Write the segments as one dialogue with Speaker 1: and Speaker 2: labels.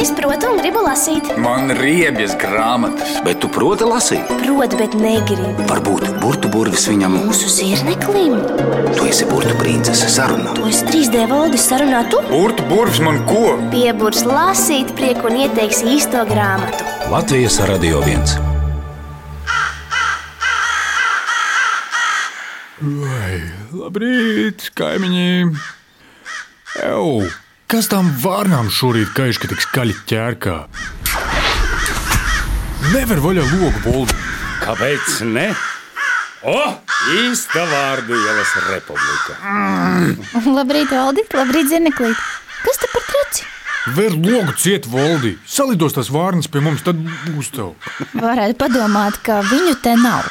Speaker 1: Es protu un gribu lasīt.
Speaker 2: Man riebjas grāmatas,
Speaker 3: Bet tu proti lasīt.
Speaker 1: Protu, bet negribu.
Speaker 3: Varbūt burbuļsaktas viņam,
Speaker 1: Mūsu zirneklim.
Speaker 3: tu esi burbuļprincese sarunā.
Speaker 1: To es 3D valdi sarunātu.
Speaker 2: burbuļs, burbuļs man ko?
Speaker 1: Pieburs lasīt prieku un ieteiks īsto grāmatu.
Speaker 3: Latvijas radio viens.
Speaker 2: Labrīt, kaimiņi! Ew, kas tam vārnām šorīt kaiš, ka tik skaļi ķērkā? Nevar vaļā logu boldu.
Speaker 4: Kāpēc ne? O, īsta vārdu ielas republika.
Speaker 5: Labrīt, Aldi, labrīt, Zirneklīt. Kas te par traci?
Speaker 2: Ver logu ciet voldi. Salidos tās vārnas pie mums, tad būs tev.
Speaker 5: Varētu padomāt, ka viņu te nav.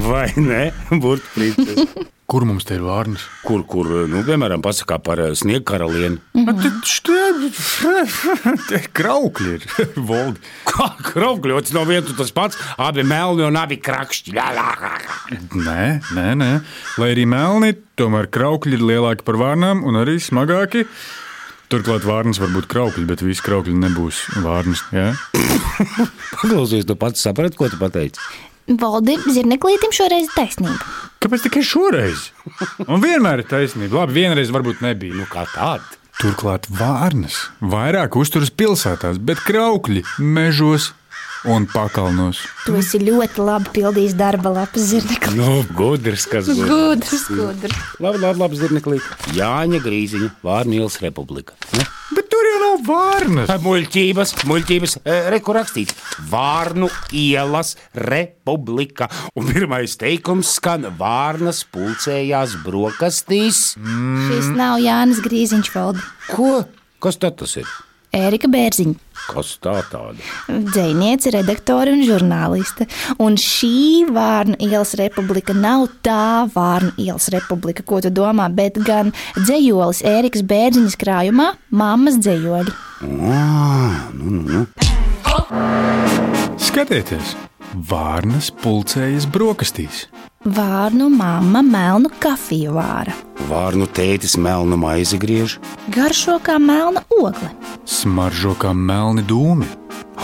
Speaker 4: Vai ne? Burbuļsaktas.
Speaker 2: Kur mums te ir vārnas?
Speaker 4: Kur, kur, nu, piemēram, pasakā par eh, sniegkaralieni.
Speaker 2: Tie kraukļi ir voldi.
Speaker 4: Kā kraukļots no vietas tas pats, abi melni un abi krakšķi. Lā, lā, lā, lā.
Speaker 2: Nē, nē, nē. Lai arī melni, tomēr kraukļi ir lielāki par vārnām un arī smagāki. Turklāt vārnas var būt kraukļi, bet visi kraukļi nebūs vārnas. Ja?
Speaker 4: Paklausies, tu pats saprati, ko tu pateici.
Speaker 5: Valdi, Zirneklītim šoreiz ir taisnība.
Speaker 2: Kāpēc tikai šoreiz? Un vienmēr ir taisnība. Labi, vienreiz varbūt nebija.
Speaker 4: Nu, kā tāda?
Speaker 2: Turklāt vārnas vairāk uzturas pilsētās, bet kraukļi mežos un pakalnos.
Speaker 5: Tu esi ļoti labi pildījis darba lapas, Zirnekli.
Speaker 4: Nu, gudrs, kas gudrs.
Speaker 5: Gudrs, gudrs.
Speaker 4: Labi, labi, labi zirneklīt. Jāņa Grīziņa, Vārnīlas republika. Ne?
Speaker 2: Bet tur jau nav vārnas.
Speaker 4: Muļķības, muļķības, reku rakstīts Vārnu ielas republika. Un pirmais teikums skan Vārnas pulcējās brokastīs.
Speaker 5: Šis nav Jānis Grīziņš, Valdi.
Speaker 4: Ko? Kas tad tas ir?
Speaker 5: Ērika Bērziņa.
Speaker 4: Kas tā tāda?
Speaker 5: Dzēniece, redaktore un žurnāliste. Un šī Vārnu ielas republika nav tā Vārnu ielas republika, ko tu domā, bet gan dzējolis Ērikas Bērziņas krājumā - mammas dzējoļi.
Speaker 4: nu,
Speaker 2: Skatieties, vārnas pulcējas brokastīs.
Speaker 5: Vārnu mamma melnu kafiju vāra.
Speaker 4: Vārnu tētis melnu maizi griež,
Speaker 5: Garšo kā melna ogle.
Speaker 2: Smaržo kā melni dūmi.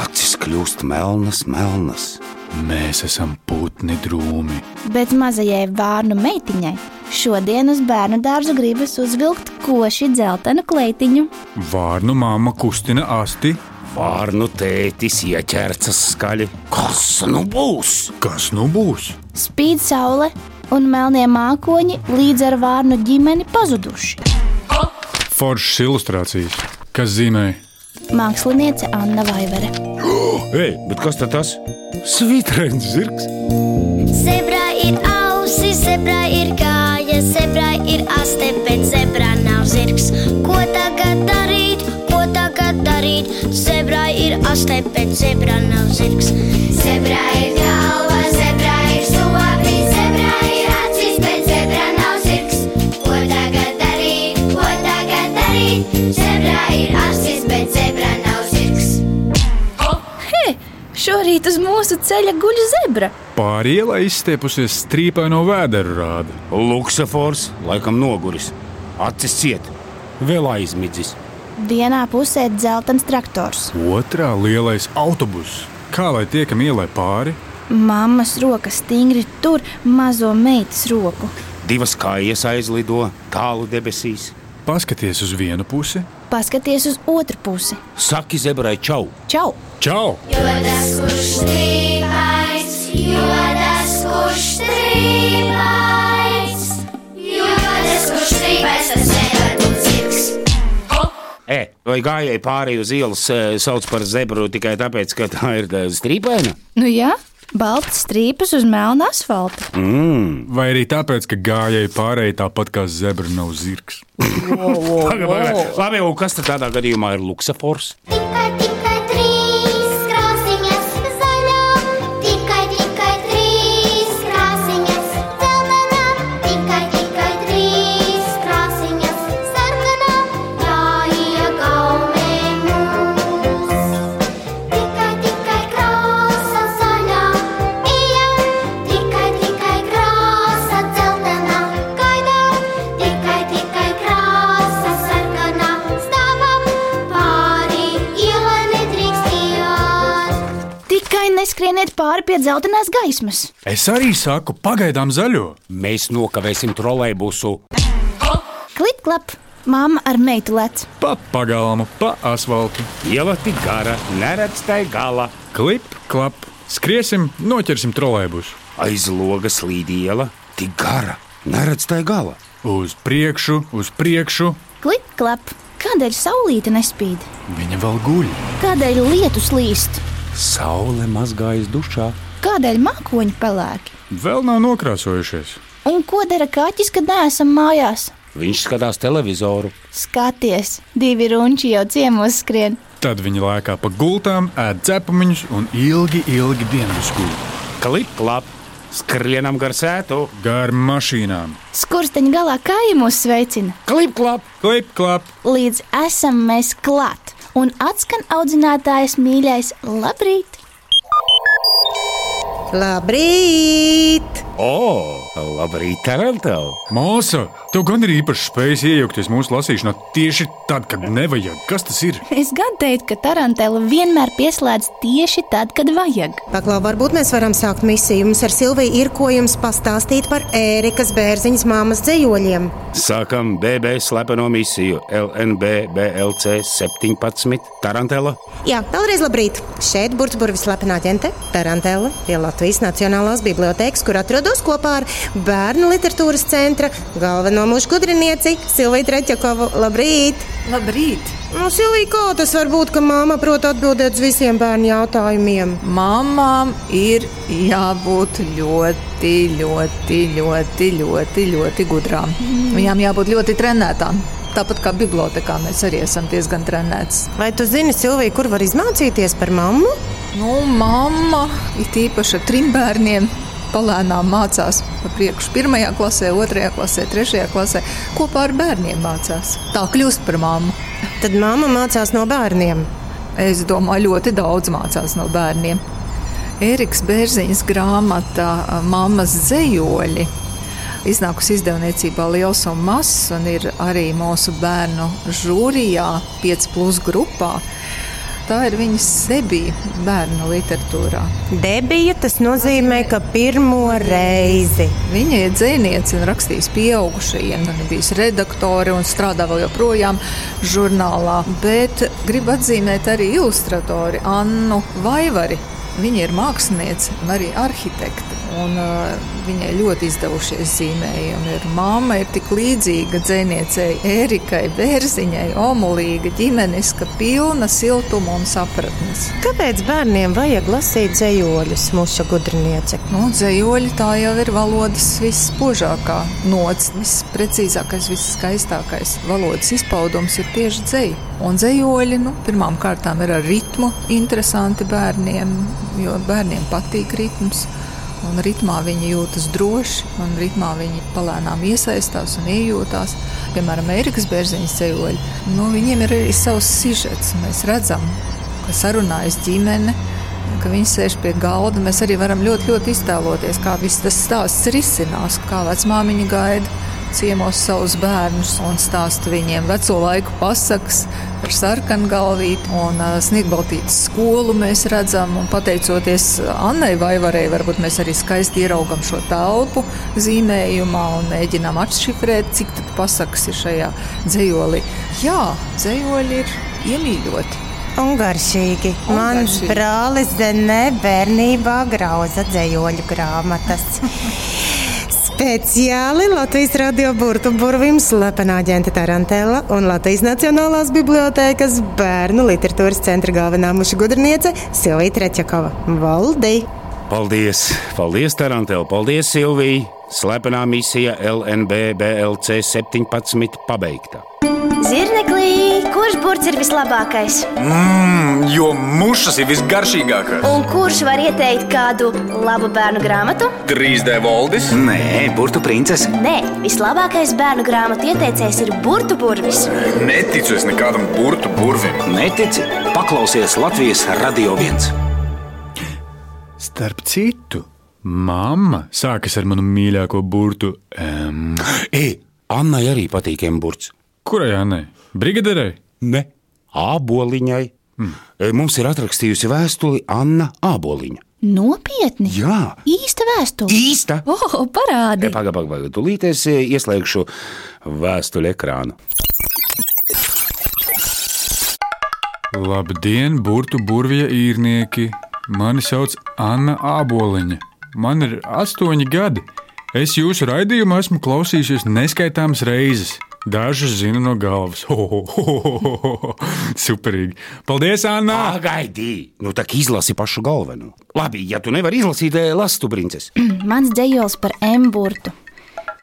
Speaker 4: acis kļūst melnas, melnas.
Speaker 2: Mēs esam putni drūmi.
Speaker 5: Bet mazajai vārnu meitiņai šodien uz bērnu dārzu gribas uzvilkt koši dzeltenu kleitiņu.
Speaker 2: Vārnu māma kustina asti.
Speaker 4: Vārnu tētis ieķercas skaļi. Kas nu būs?
Speaker 2: Kas nu būs?
Speaker 5: Spīd saule un melnie mākoņi līdz ar vārnu ģimeni pazuduši.
Speaker 2: Foršas ilustrācijas, kas zīmē
Speaker 5: Māksliniece Anna Vaivere.
Speaker 4: Ei, bet kas tad tas? Svītrens zirgs.
Speaker 6: Zebra ir ausis, zebra ir kājas, zebra ir aste, bet zebra nav zirgs. Ko tagad darīt, ko tagad darīt? Zebra ir aste, bet zebra nav zirgs. Zebra ir galva, zebra ir sobi, zebra ir acis, bet zebra nav zirgs. Ko tagad darīt, ko tagad darīt? Zebra ir asis, bet zebra nav zirgs.
Speaker 5: He, šorīt uz mūsu ceļa guļ zebra.
Speaker 2: pāri ielai izstiepusies strīpaino vēderu rādu.
Speaker 4: Luksafors laikam noguris, acis ciet, vēl aizmidzis.
Speaker 5: Vienā pusē dzeltens traktors.
Speaker 2: Otrā lielais autobuss. Kā lai tiekam ielai pāri?
Speaker 5: Mammas roka stingri tur mazo meitas roku.
Speaker 4: Divas kājas aizlido tālu debesīs.
Speaker 2: Paskaties uz vienu pusi.
Speaker 5: Paskaties uz otru pusi.
Speaker 4: Saki zebrai čau!
Speaker 5: Čau!
Speaker 2: Čau!
Speaker 6: Jodas kurš strīpais, jodas kurš strīpais, jodas kurš strīpais, tas nevar būt zirgs.
Speaker 4: E, vai gājēji pāri uz ielas e, sauc par zebru tikai tāpēc, ka tā ir e, strīpaina?
Speaker 5: Nu jā, balts strīpas uz melna asfalta.
Speaker 2: Vai arī tāpēc, ka gājēji pārēji tāpat kā zebra nav zirgs.
Speaker 4: Pagaid, pagaid. Labi, un kas tad tādā gadījumā ir luksafors?
Speaker 6: Tikai, tikai trīs krāsiņas zaļām, tikai, tikai trīs krāsiņas dzeltenām, tikai, tikai trīs krāsiņas sarkanām, jāiegaumē mūs. Tikai, tikai krāsa zaļā, ejam, tikai, tikai krāsa dzeltenā, gaidām, tikai, tikai krāsa sarkanā, stāvam, pār
Speaker 5: neskrieniet pāri pie dzeltenās gaismas.
Speaker 2: Es arī saku, pagaidām zaļo.
Speaker 4: Mēs nokavēsim trolēbusu.
Speaker 5: Klik, klap, mamma ar meitu lec.
Speaker 2: Pa pagalmu, pa asfaltu.
Speaker 4: Iela tik gara, neredz tai gala.
Speaker 2: Klip, klap, skriesim, noķersim trolēbus.
Speaker 4: Aiz logas līd iela, tik gara, neredz tai gala.
Speaker 2: Uz priekšu, uz priekšu.
Speaker 5: Klik, klap, kādēļ saulīte nespīd?
Speaker 2: Viņa vēl guļ.
Speaker 5: Kādēļ lietus līst?
Speaker 4: Saule mazgājas dušā.
Speaker 5: Kādēļ mākoņi pelēki?
Speaker 2: Vēl nav nokrāsojušies.
Speaker 5: Un ko dara kaķis, kad neesam mājās?
Speaker 4: Viņš skatās televizoru.
Speaker 5: Skaties, divi runči jau ciemos skrien.
Speaker 2: Tad viņi lēkā pa gultām, ēd cepumiņus un ilgi, ilgi dienas guļ.
Speaker 4: Klip, klap, skrienam gar sētu.
Speaker 2: Gar mašīnām.
Speaker 5: Skursteņa galā kāja mūs sveicina.
Speaker 4: Klip, klap,
Speaker 2: Klip, klap,
Speaker 5: Līdz esam mēs klāt, un atskan audzinātājs mīļais, labrīt!
Speaker 7: Labrīt!
Speaker 4: o, labrīt, Tarantel.
Speaker 2: māsa! Tev gan ir īpašs spējas iejaukties mūsu lasīšanā tieši tad, kad nevajag. Kas tas ir?
Speaker 5: Es gan teiktu, ka tarantela vienmēr pieslēdz tieši tad, kad vajag.
Speaker 7: Paklau, varbūt mēs varam sākt misiju. Mums ar Silviju ir ko jums pastāstīt par Ērikas bērziņas māmas dzējoļiem.
Speaker 4: Sākam BB slepeno misiju LNB BLC 17 Tarantela.
Speaker 7: Jā, vēlreiz labrīt! Šeit Burbuļsaktas lepenā ģente Tarantela pie Latvijas Nacionālās Bibliotēkas, kur atrodos kopā ar Bērnu literatūras centra galveno mūža gudrinieci Silviju Treķakovu. Labrīt!
Speaker 8: Labrīt!
Speaker 7: Nu, Silvija, kā tas var būt, ka māma prot atbildēt uz visiem bērnu jautājumiem?
Speaker 8: Mamām ir jābūt ļoti, ļoti, ļoti, ļoti, ļoti gudrām. Viņām jābūt ļoti trenētām. Tāpat kā bibliotekā mēs arī esam diezgan trenēti.
Speaker 7: Vai tu zini, Silvija, kur var izmācīties par mammu?
Speaker 8: Nu, mamma ir īpaši ar trim bērniem. Palēnām mācās pa priekšu, pirmajā klasē, otrajā klasē, trešajā klasē. Kopā ar bērniem mācās. Tā kļūst par mammu.
Speaker 7: Tad mamma mācās no bērniem.
Speaker 8: Es domāju, ļoti daudz mācās no bērniem. Eriks Bērziņas grāmata Māmas zejoļi. Iznākusi izdevniecībā Liels un Mazs, un ir arī mūsu bērnu žūrijā, 5,5 grupā. Tā ir viņas debija bērnu literatūrā.
Speaker 7: Debija tas nozīmē, ka pirmo reizi.
Speaker 8: Viņa ir dziniece un rakstījis pieaugušajiem, un ir bijusi redaktore un strādā vēl joprojām žurnālā. Bet gribu atzīmēt arī ilustratori Annu Vaivari. Viņa ir māksliniece un arī arhitekte. Un, uh, viņai ļoti izdevušies zīmējumi. Ir māma ir tik līdzīga dziniecei Erikai Bērziņai, omulīga, ģimeniska, pilna siltuma un sapratnes.
Speaker 7: Kāpēc bērniem vajag lasīt zemoļus, mūža gudriniece?
Speaker 8: Nu, dzējoļi tā jau ir valodas vispožākā nots, visprecīzākais, viskaistākais valodas izpaudums ir tieši dzēja. Un dzējoļi nu, pirmām kārtām ir ar ritmu interesanti bērniem, jo bērniem patīk ritms. Un ritmā viņi jūtas droši, un ritmā viņi palēnām iesaistās un iejūtās. Piemēram, Erikas Bērziņas ceļoļi. Nu, viņiem ir arī savs sižets. Mēs redzam, ka sarunājas ģimene, ka viņi sēž pie galda. Mēs arī varam ļoti, ļoti iztēloties, kā viss tas stāsts risinās, kā vecmāmiņa gaida ciemos savus bērnus un stāsta viņiem veco laiku pasakas par sarkanu galvīti un ā, sniegbaltītas skolu mēs redzam. Un pateicoties Annai Vaivarei, varbūt mēs arī skaisti ieraugam šo telpu zīmējumā un mēģinām atšifrēt, cik tad pasakas ir šajā dzējolī. Jā, dzējoli ir iemīļoti.
Speaker 7: Un garšīgi.
Speaker 8: Un
Speaker 7: Mans
Speaker 8: garšīgi.
Speaker 7: brālis Zenē bērnībā grauza zemoļu grāmatas. Speciāli Latvijas radio burbuļsaktas, slepenā ģente Tarantela un Latvijas Nacionālās Bibliotēkas bērnu literatūras centra galvenā muša gudriniece Silvija Trečakova. Valdi!
Speaker 4: Paldies, paldies, Tarantel, paldies, Silvija. Slepenā misija LNB BLC 17 pabeigta.
Speaker 1: Zirneklī, kurš burts ir vislabākais?
Speaker 9: Mmm, jo mušas ir visgaršīgākās.
Speaker 1: Un kurš var ieteikt kādu labu bērnu grāmatu?
Speaker 9: 3D valdis,
Speaker 3: Nē, burtu princese.
Speaker 1: Nē, vislabākais bērnu grāmatu ieteicējs ir Burbuļs Burvis.
Speaker 9: neticu es nekādam burtu burvim.
Speaker 3: Netici, paklausies Latvijas Radio 1.
Speaker 2: Starp citu, mamma sākas ar manu mīļāko burtu M.
Speaker 4: Ei, Annai arī patīk emburts.
Speaker 2: Kurai Anai? Brigaderei?
Speaker 4: Ne, Hmm. āboliņai. Mm. Mums ir atrakstījusi vēstuli Anna Āboliņa.
Speaker 5: Nopietni!
Speaker 4: Jā.
Speaker 5: Īsta vēstule!
Speaker 4: Īsta! E,
Speaker 5: O, parādi!
Speaker 4: Pagaidām, pagaidām, tūlīt es e, ieslēgšu vēstuļu ekrānu.
Speaker 2: Labdien, burtu burvija īrnieki! Mani sauc Anna Āboliņa. Man ir astoņi gadi. Es jūsu raidījumu esmu klausījusies neskaitāmas reizes. Dažas zinu no galvas. Superīgi! Paldies, Anna!
Speaker 4: Pagaidi, nu tā kā izlasi pašu galveno. Labi, ja tu nevari izlasīt, e, lasu tu princeses.
Speaker 5: Mans dzējols par emburtu.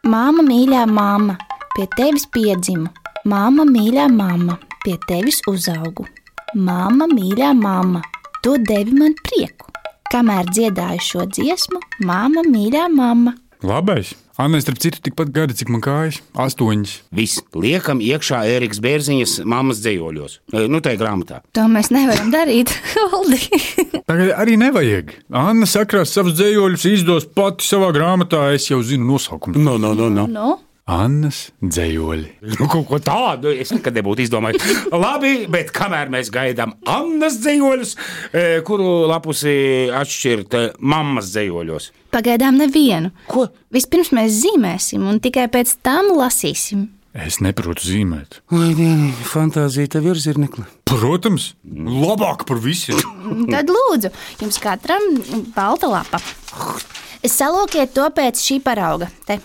Speaker 5: Māma, mīļā mamma, pie tevis piedzimu. Māma, mīļā mamma, pie tevis uzaugu. Māma, mīļā mamma, tu devi man prieku. Kamēr dziedāju šo dziesmu, māma, mīļā mamma.
Speaker 2: Labais! Anna, starp citu, tikpat gadi, cik man kājas - astoņas.
Speaker 4: Viss liekam iekšā Ēriks Bērziņas mammas dzējoļos. E, Nu, tā ir grāmatā.
Speaker 5: To mēs nevaram darīt, Oldi.
Speaker 2: Tagad arī nevajag. Anna sakrās savus dzējoļus, izdos pati savā grāmatā. Es jau zinu nosaukumu.
Speaker 4: No, no, no, no.
Speaker 5: nu,
Speaker 2: Annas dzējoļi.
Speaker 4: Nu, kaut ko tādu es nekad nebūtu izdomājis. Labi, bet kamēr mēs gaidām Annas dzējoļus, e, kuru lapusi atšķirt e, mammas dzējoļos?
Speaker 5: pagaidām nevienu.
Speaker 4: Ko?
Speaker 5: Vispirms mēs zīmēsim, un tikai pēc tam lasīsim.
Speaker 2: Es neprotu zīmēt.
Speaker 4: Vai dieni, fantāzija tev ir zirnekla?
Speaker 2: Protams, labāk par visiem.
Speaker 5: Un Tad lūdzu, jums katram balta lapa. Salokiet to pēc šī parauga te,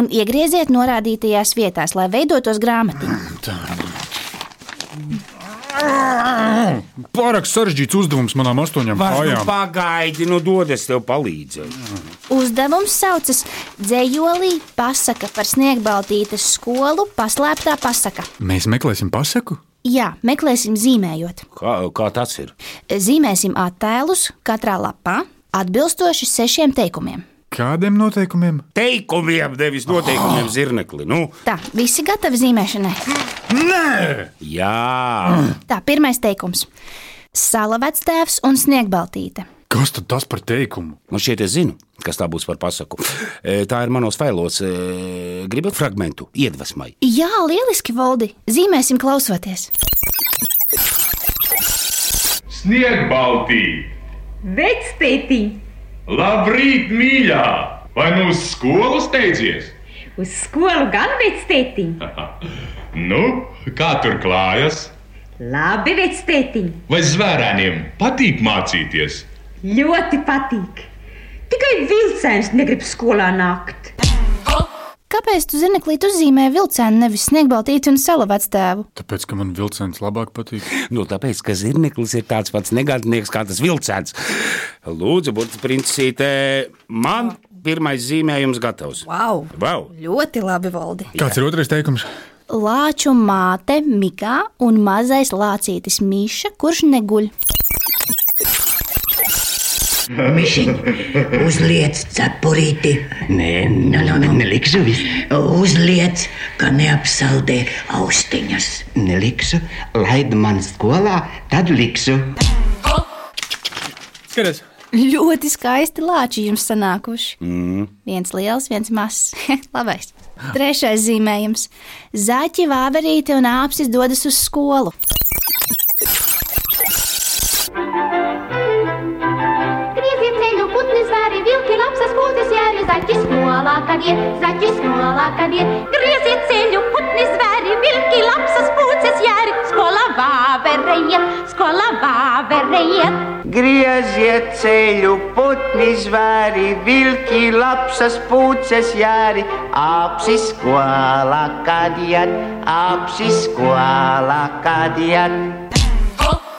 Speaker 5: un iegrieziet norādītajās vietās, lai veidotos grāmatiņa.
Speaker 2: Pārāk sarežģīts uzdevums manām astoņām
Speaker 4: Vai nu
Speaker 2: kājām.
Speaker 4: pagaidi, nu dodies tev palīdzēt.
Speaker 5: Uzdevums saucas Dzējolī pasaka par sniegbaltītes skolu paslēptā pasaka.
Speaker 2: Mēs meklēsim pasaku.
Speaker 5: Jā, meklēsim zīmējot.
Speaker 4: Kā, kā tas ir?
Speaker 5: Zīmēsim attēlus katrā lapā atbilstoši sešiem teikumiem.
Speaker 2: Kādiem noteikumiem?
Speaker 4: Teikumiem, nevis noteikumiem, zirnekli. Nu,
Speaker 5: Tā, visi gatavi zīmēšanai.
Speaker 4: jā,
Speaker 5: Tā, pirmais teikums. Salavēts tēvs un sniegbaltīte.
Speaker 2: Kas tad tas par teikumu?
Speaker 4: man Nu, šeit es zinu, kas tā būs par pasaku. E, Tā ir manos failos. e, Gribu fragmentu iedvesmai.
Speaker 5: Jā, lieliski, Valdi. Zīmēsim, klausoties.
Speaker 10: Sniegbaltī,
Speaker 11: Vectētī,
Speaker 10: labrīt, mīļā! Vai nu uz skolu steidzies?
Speaker 11: uz skolu gan vectētī.
Speaker 10: Nu, kā tur klājas?
Speaker 11: Labi, vectētī,
Speaker 10: Vai zvērēniem patīk mācīties?
Speaker 11: ļoti patīk. Tikai vilciens negrib skolā nākt.
Speaker 5: Kāpēc tu zirneklīt uzzīmē vilcienu, nevis sniegbaltīti un salavēts tēvu?
Speaker 2: Tāpēc, ka man vilciens labāk patīk.
Speaker 4: Nu, tāpēc, ka zirneklis ir tāds pats negādnieks kā tas vilciens. Lūdzu, būtiski, princītē, man pirmais zīmējums gatavs.
Speaker 5: Wow!
Speaker 4: Vau!
Speaker 5: Ļoti labi, Valdi.
Speaker 2: Kāds ir otrais teikums?
Speaker 5: Lāču māte Mikā un mazais lācītis Mīša, kurš neguļ.
Speaker 11: Uzliec cepurīti.
Speaker 3: Nē, nē, nē, nē, nelikšu visu.
Speaker 11: Uzliec, ka neapsaldē austiņas.
Speaker 3: Nelikšu, laid man skolā, tad likšu.
Speaker 2: Skaties,
Speaker 5: Ļoti skaisti lāči jums sanākuši. Mm. Viens liels, viens mazs. Labais. Trešais zīmējums. Zaķi, vāverīti un āpsis dodas uz skolu.
Speaker 6: Grieziet ceļu, putni zāri, vilki lapsas būtis, jāri zaķi skolā, kad iet, zaķi skolā, kad iet. Grieziet ceļu, putni zāri, vilki lapsas būtis, jāri skolā vāverējiet, skolā vāverējiet.
Speaker 11: Grieziet ceļu, putni zvēri, vilki, lapsas puces jāri, apsis skolā, kad iet, apsis skolā, kad iet.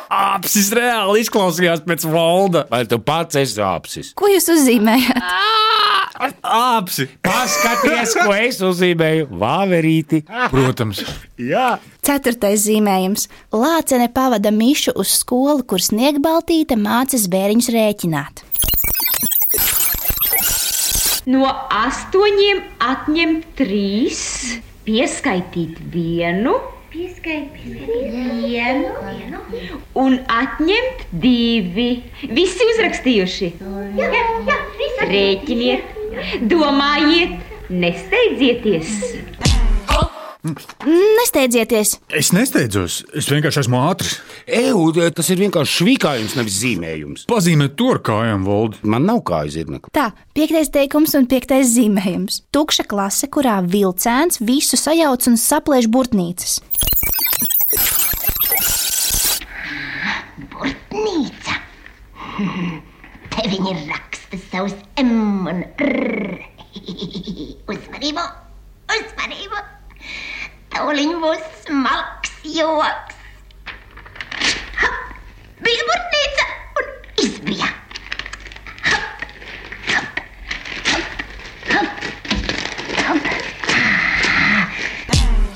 Speaker 2: apsis reāli izklausījās pēc valda.
Speaker 4: Vai tu pats esi apsis?
Speaker 5: Ko jūs uzzīmējat?
Speaker 2: Apsi!
Speaker 4: Paskaties, ko es uzzīmēju! Vāverīti!
Speaker 2: Protams,
Speaker 4: Jā!
Speaker 5: Ceturtais zīmējums. Lācene pavada mišu uz skolu, kur sniegbaltīte mācas bēriņus rēķināt.
Speaker 11: No astoņiem atņemt trīs, pieskaitīt vienu, pieskaitīt vienu, un atņemt divi. Visi uzrakstījuši. Jā, jā, visi. Rēķiniet, domājiet, nesteidzieties.
Speaker 12: Nesteidzieties!
Speaker 2: Es nesteidzos, es vienkārši esmu ātrs.
Speaker 4: Eju, e, tas ir vienkārši švīkājums, nevis zīmējums.
Speaker 2: Pazīmēt to ar kājām, Voldi.
Speaker 4: Man nav kājas zirnekļa.
Speaker 5: Tā, piektais teikums un piektais zīmējums. Tukša klase, kurā vilciens visu sajauc un saplēš burtnīcas.
Speaker 6: Burtnīca. Te viņi raksta savus M un R. Uzmanību, uzmanību. Tūliņ būs smalks joks. Hop, Bija burtnīca un izbija. Hop, hop, hop,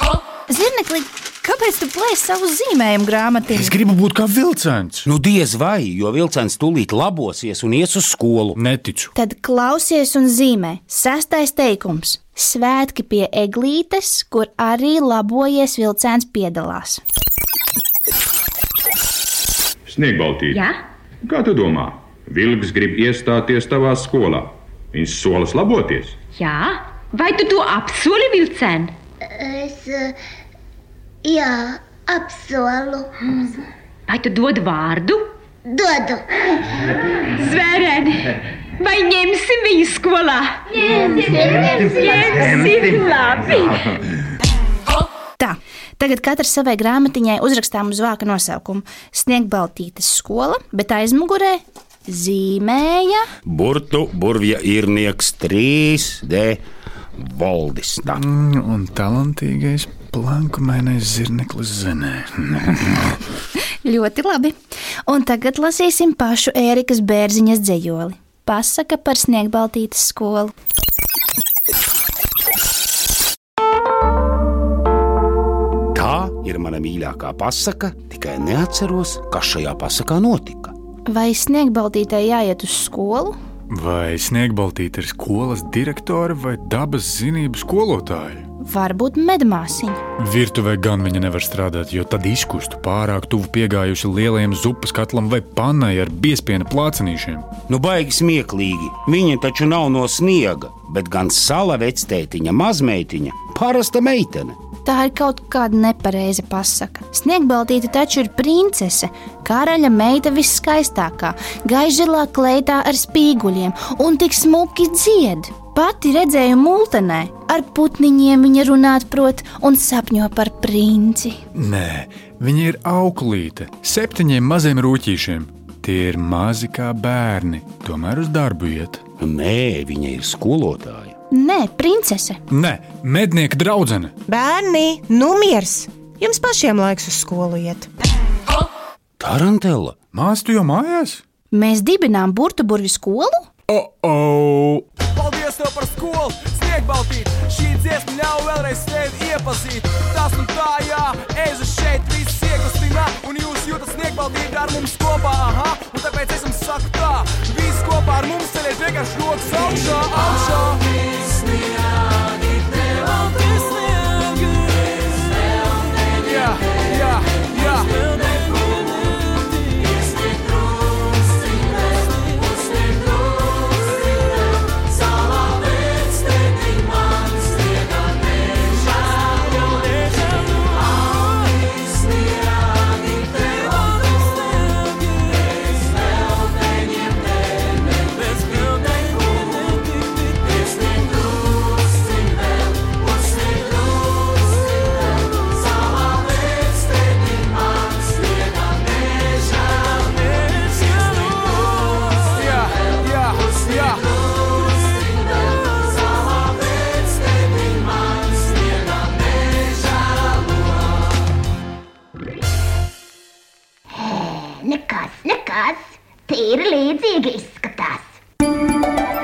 Speaker 6: hop,
Speaker 5: Zirnekli, kāpēc tu plēsi savu zīmējumu grāmatiņu?
Speaker 2: Es gribu būt kā vilciens.
Speaker 4: Nu, diez vai, jo vilciens tūlīt labosies un ies uz skolu.
Speaker 2: Neticu.
Speaker 5: Tad klausies un zīmē. Sestais teikums. Svētki pie eglītes, kur arī labojies vilciens piedalās.
Speaker 13: Sniegbaltīte,
Speaker 14: Jā?
Speaker 13: kā tu domā, Vilks grib iestāties tavā skolā? Viņš solas laboties.
Speaker 14: Jā? Vai tu to apsoli vilcēn?
Speaker 15: Es eh, jā, apsolu.
Speaker 14: Vai tu dod vārdu?
Speaker 15: Dodu.
Speaker 14: Zvērēni! Vai ņemsim viņu skolā? Ņemsim, labi!
Speaker 5: Tā, tagad katrs savai grāmatiņai uzrakstām uz vāka nosaukumu. Sniegbaltītes skola, bet aizmugurē zīmēja.
Speaker 4: Burtu, burvja īrnieks 3D Valdis. Tā.
Speaker 2: Mm, Un talantīgais plankumainais zirneklis zenē.
Speaker 5: Ļoti labi. Un tagad lasīsim pašu Ērikas bērziņas dzējoli. Pasaka par sniegbaltītes skolu.
Speaker 4: tā ir mana mīļākā pasaka, tikai neatceros, kas šajā pasakā notika.
Speaker 5: Vai sniegbaltītei jāiet uz skolu?
Speaker 2: Vai sniegbaltīte ir skolas direktore vai dabas zinību skolotāja?
Speaker 5: Varbūt medmāsiņa.
Speaker 2: Virtuvē gan viņa nevar strādāt, jo tad izkustu pārāk tuvu piegājusi lielajam zupas katlam vai panai ar biespienu plācenīšiem.
Speaker 4: Nu, baigi smieklīgi. Viņa taču nav no sniega, bet gan sala vectētiņa, mazmeitiņa, parasta meitene.
Speaker 5: Tā ir kaut kāda nepareiza pasaka. Sniegbaltīte taču ir princese, karaļa meita viskaistākā, gaižilā kleitā ar spīguļiem un tik smuki dzied. Pati redzēju multenē, ar putniņiem viņa runāt prot un sapņo par princi.
Speaker 2: Nē, viņa ir auklīte, septiņiem maziem rūtīšiem. Tie ir mazi kā bērni, tomēr uz darbu iet.
Speaker 4: Nē, viņa ir skolotāja.
Speaker 5: Nē, princese.
Speaker 2: Nē, mednieka draudzene.
Speaker 7: Bērni, nu miers! Jums pašiem laiks uz skolu iet.
Speaker 4: Tarantela.
Speaker 2: Māstu jau mājās?
Speaker 5: Mēs dibinām burbuļu skolu?
Speaker 2: O, o,
Speaker 8: Paldies tev par skolu, sniegbaltīt! Šī dziesma ļauj vēlreiz tevi iepazīt. Tas un tā, jā, eju šeit, viss iekustinā, un jūs jūtat sniegbaltīt ar mums kopā. Aha, un tāpēc es jums saku tā, viss kopā ar mums ceļiet vienkārši rokas augšā, augšā! Jā, jā, jā! Jā, jā, jā!
Speaker 6: Nekas, nekas. Tīri līdzīgi izskatās.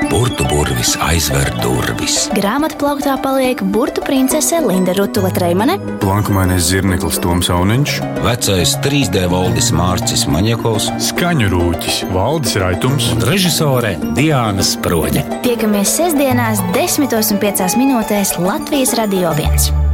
Speaker 16: Burbuļsaktas aizver durvis.
Speaker 12: Grāmatā plauktā paliek burbuļu princese Linda Rutula Treimane,
Speaker 2: Plankumainais zirneklis Toms Auniņš,
Speaker 16: Vecais 3D valdis Mārcis Maņakovs,
Speaker 2: skaņu rūķis Valdis Raitums
Speaker 16: un režisore Diana Sproģa.
Speaker 12: Tiekamies sestdienās, 10.5 minūtēs Latvijas Radio 1.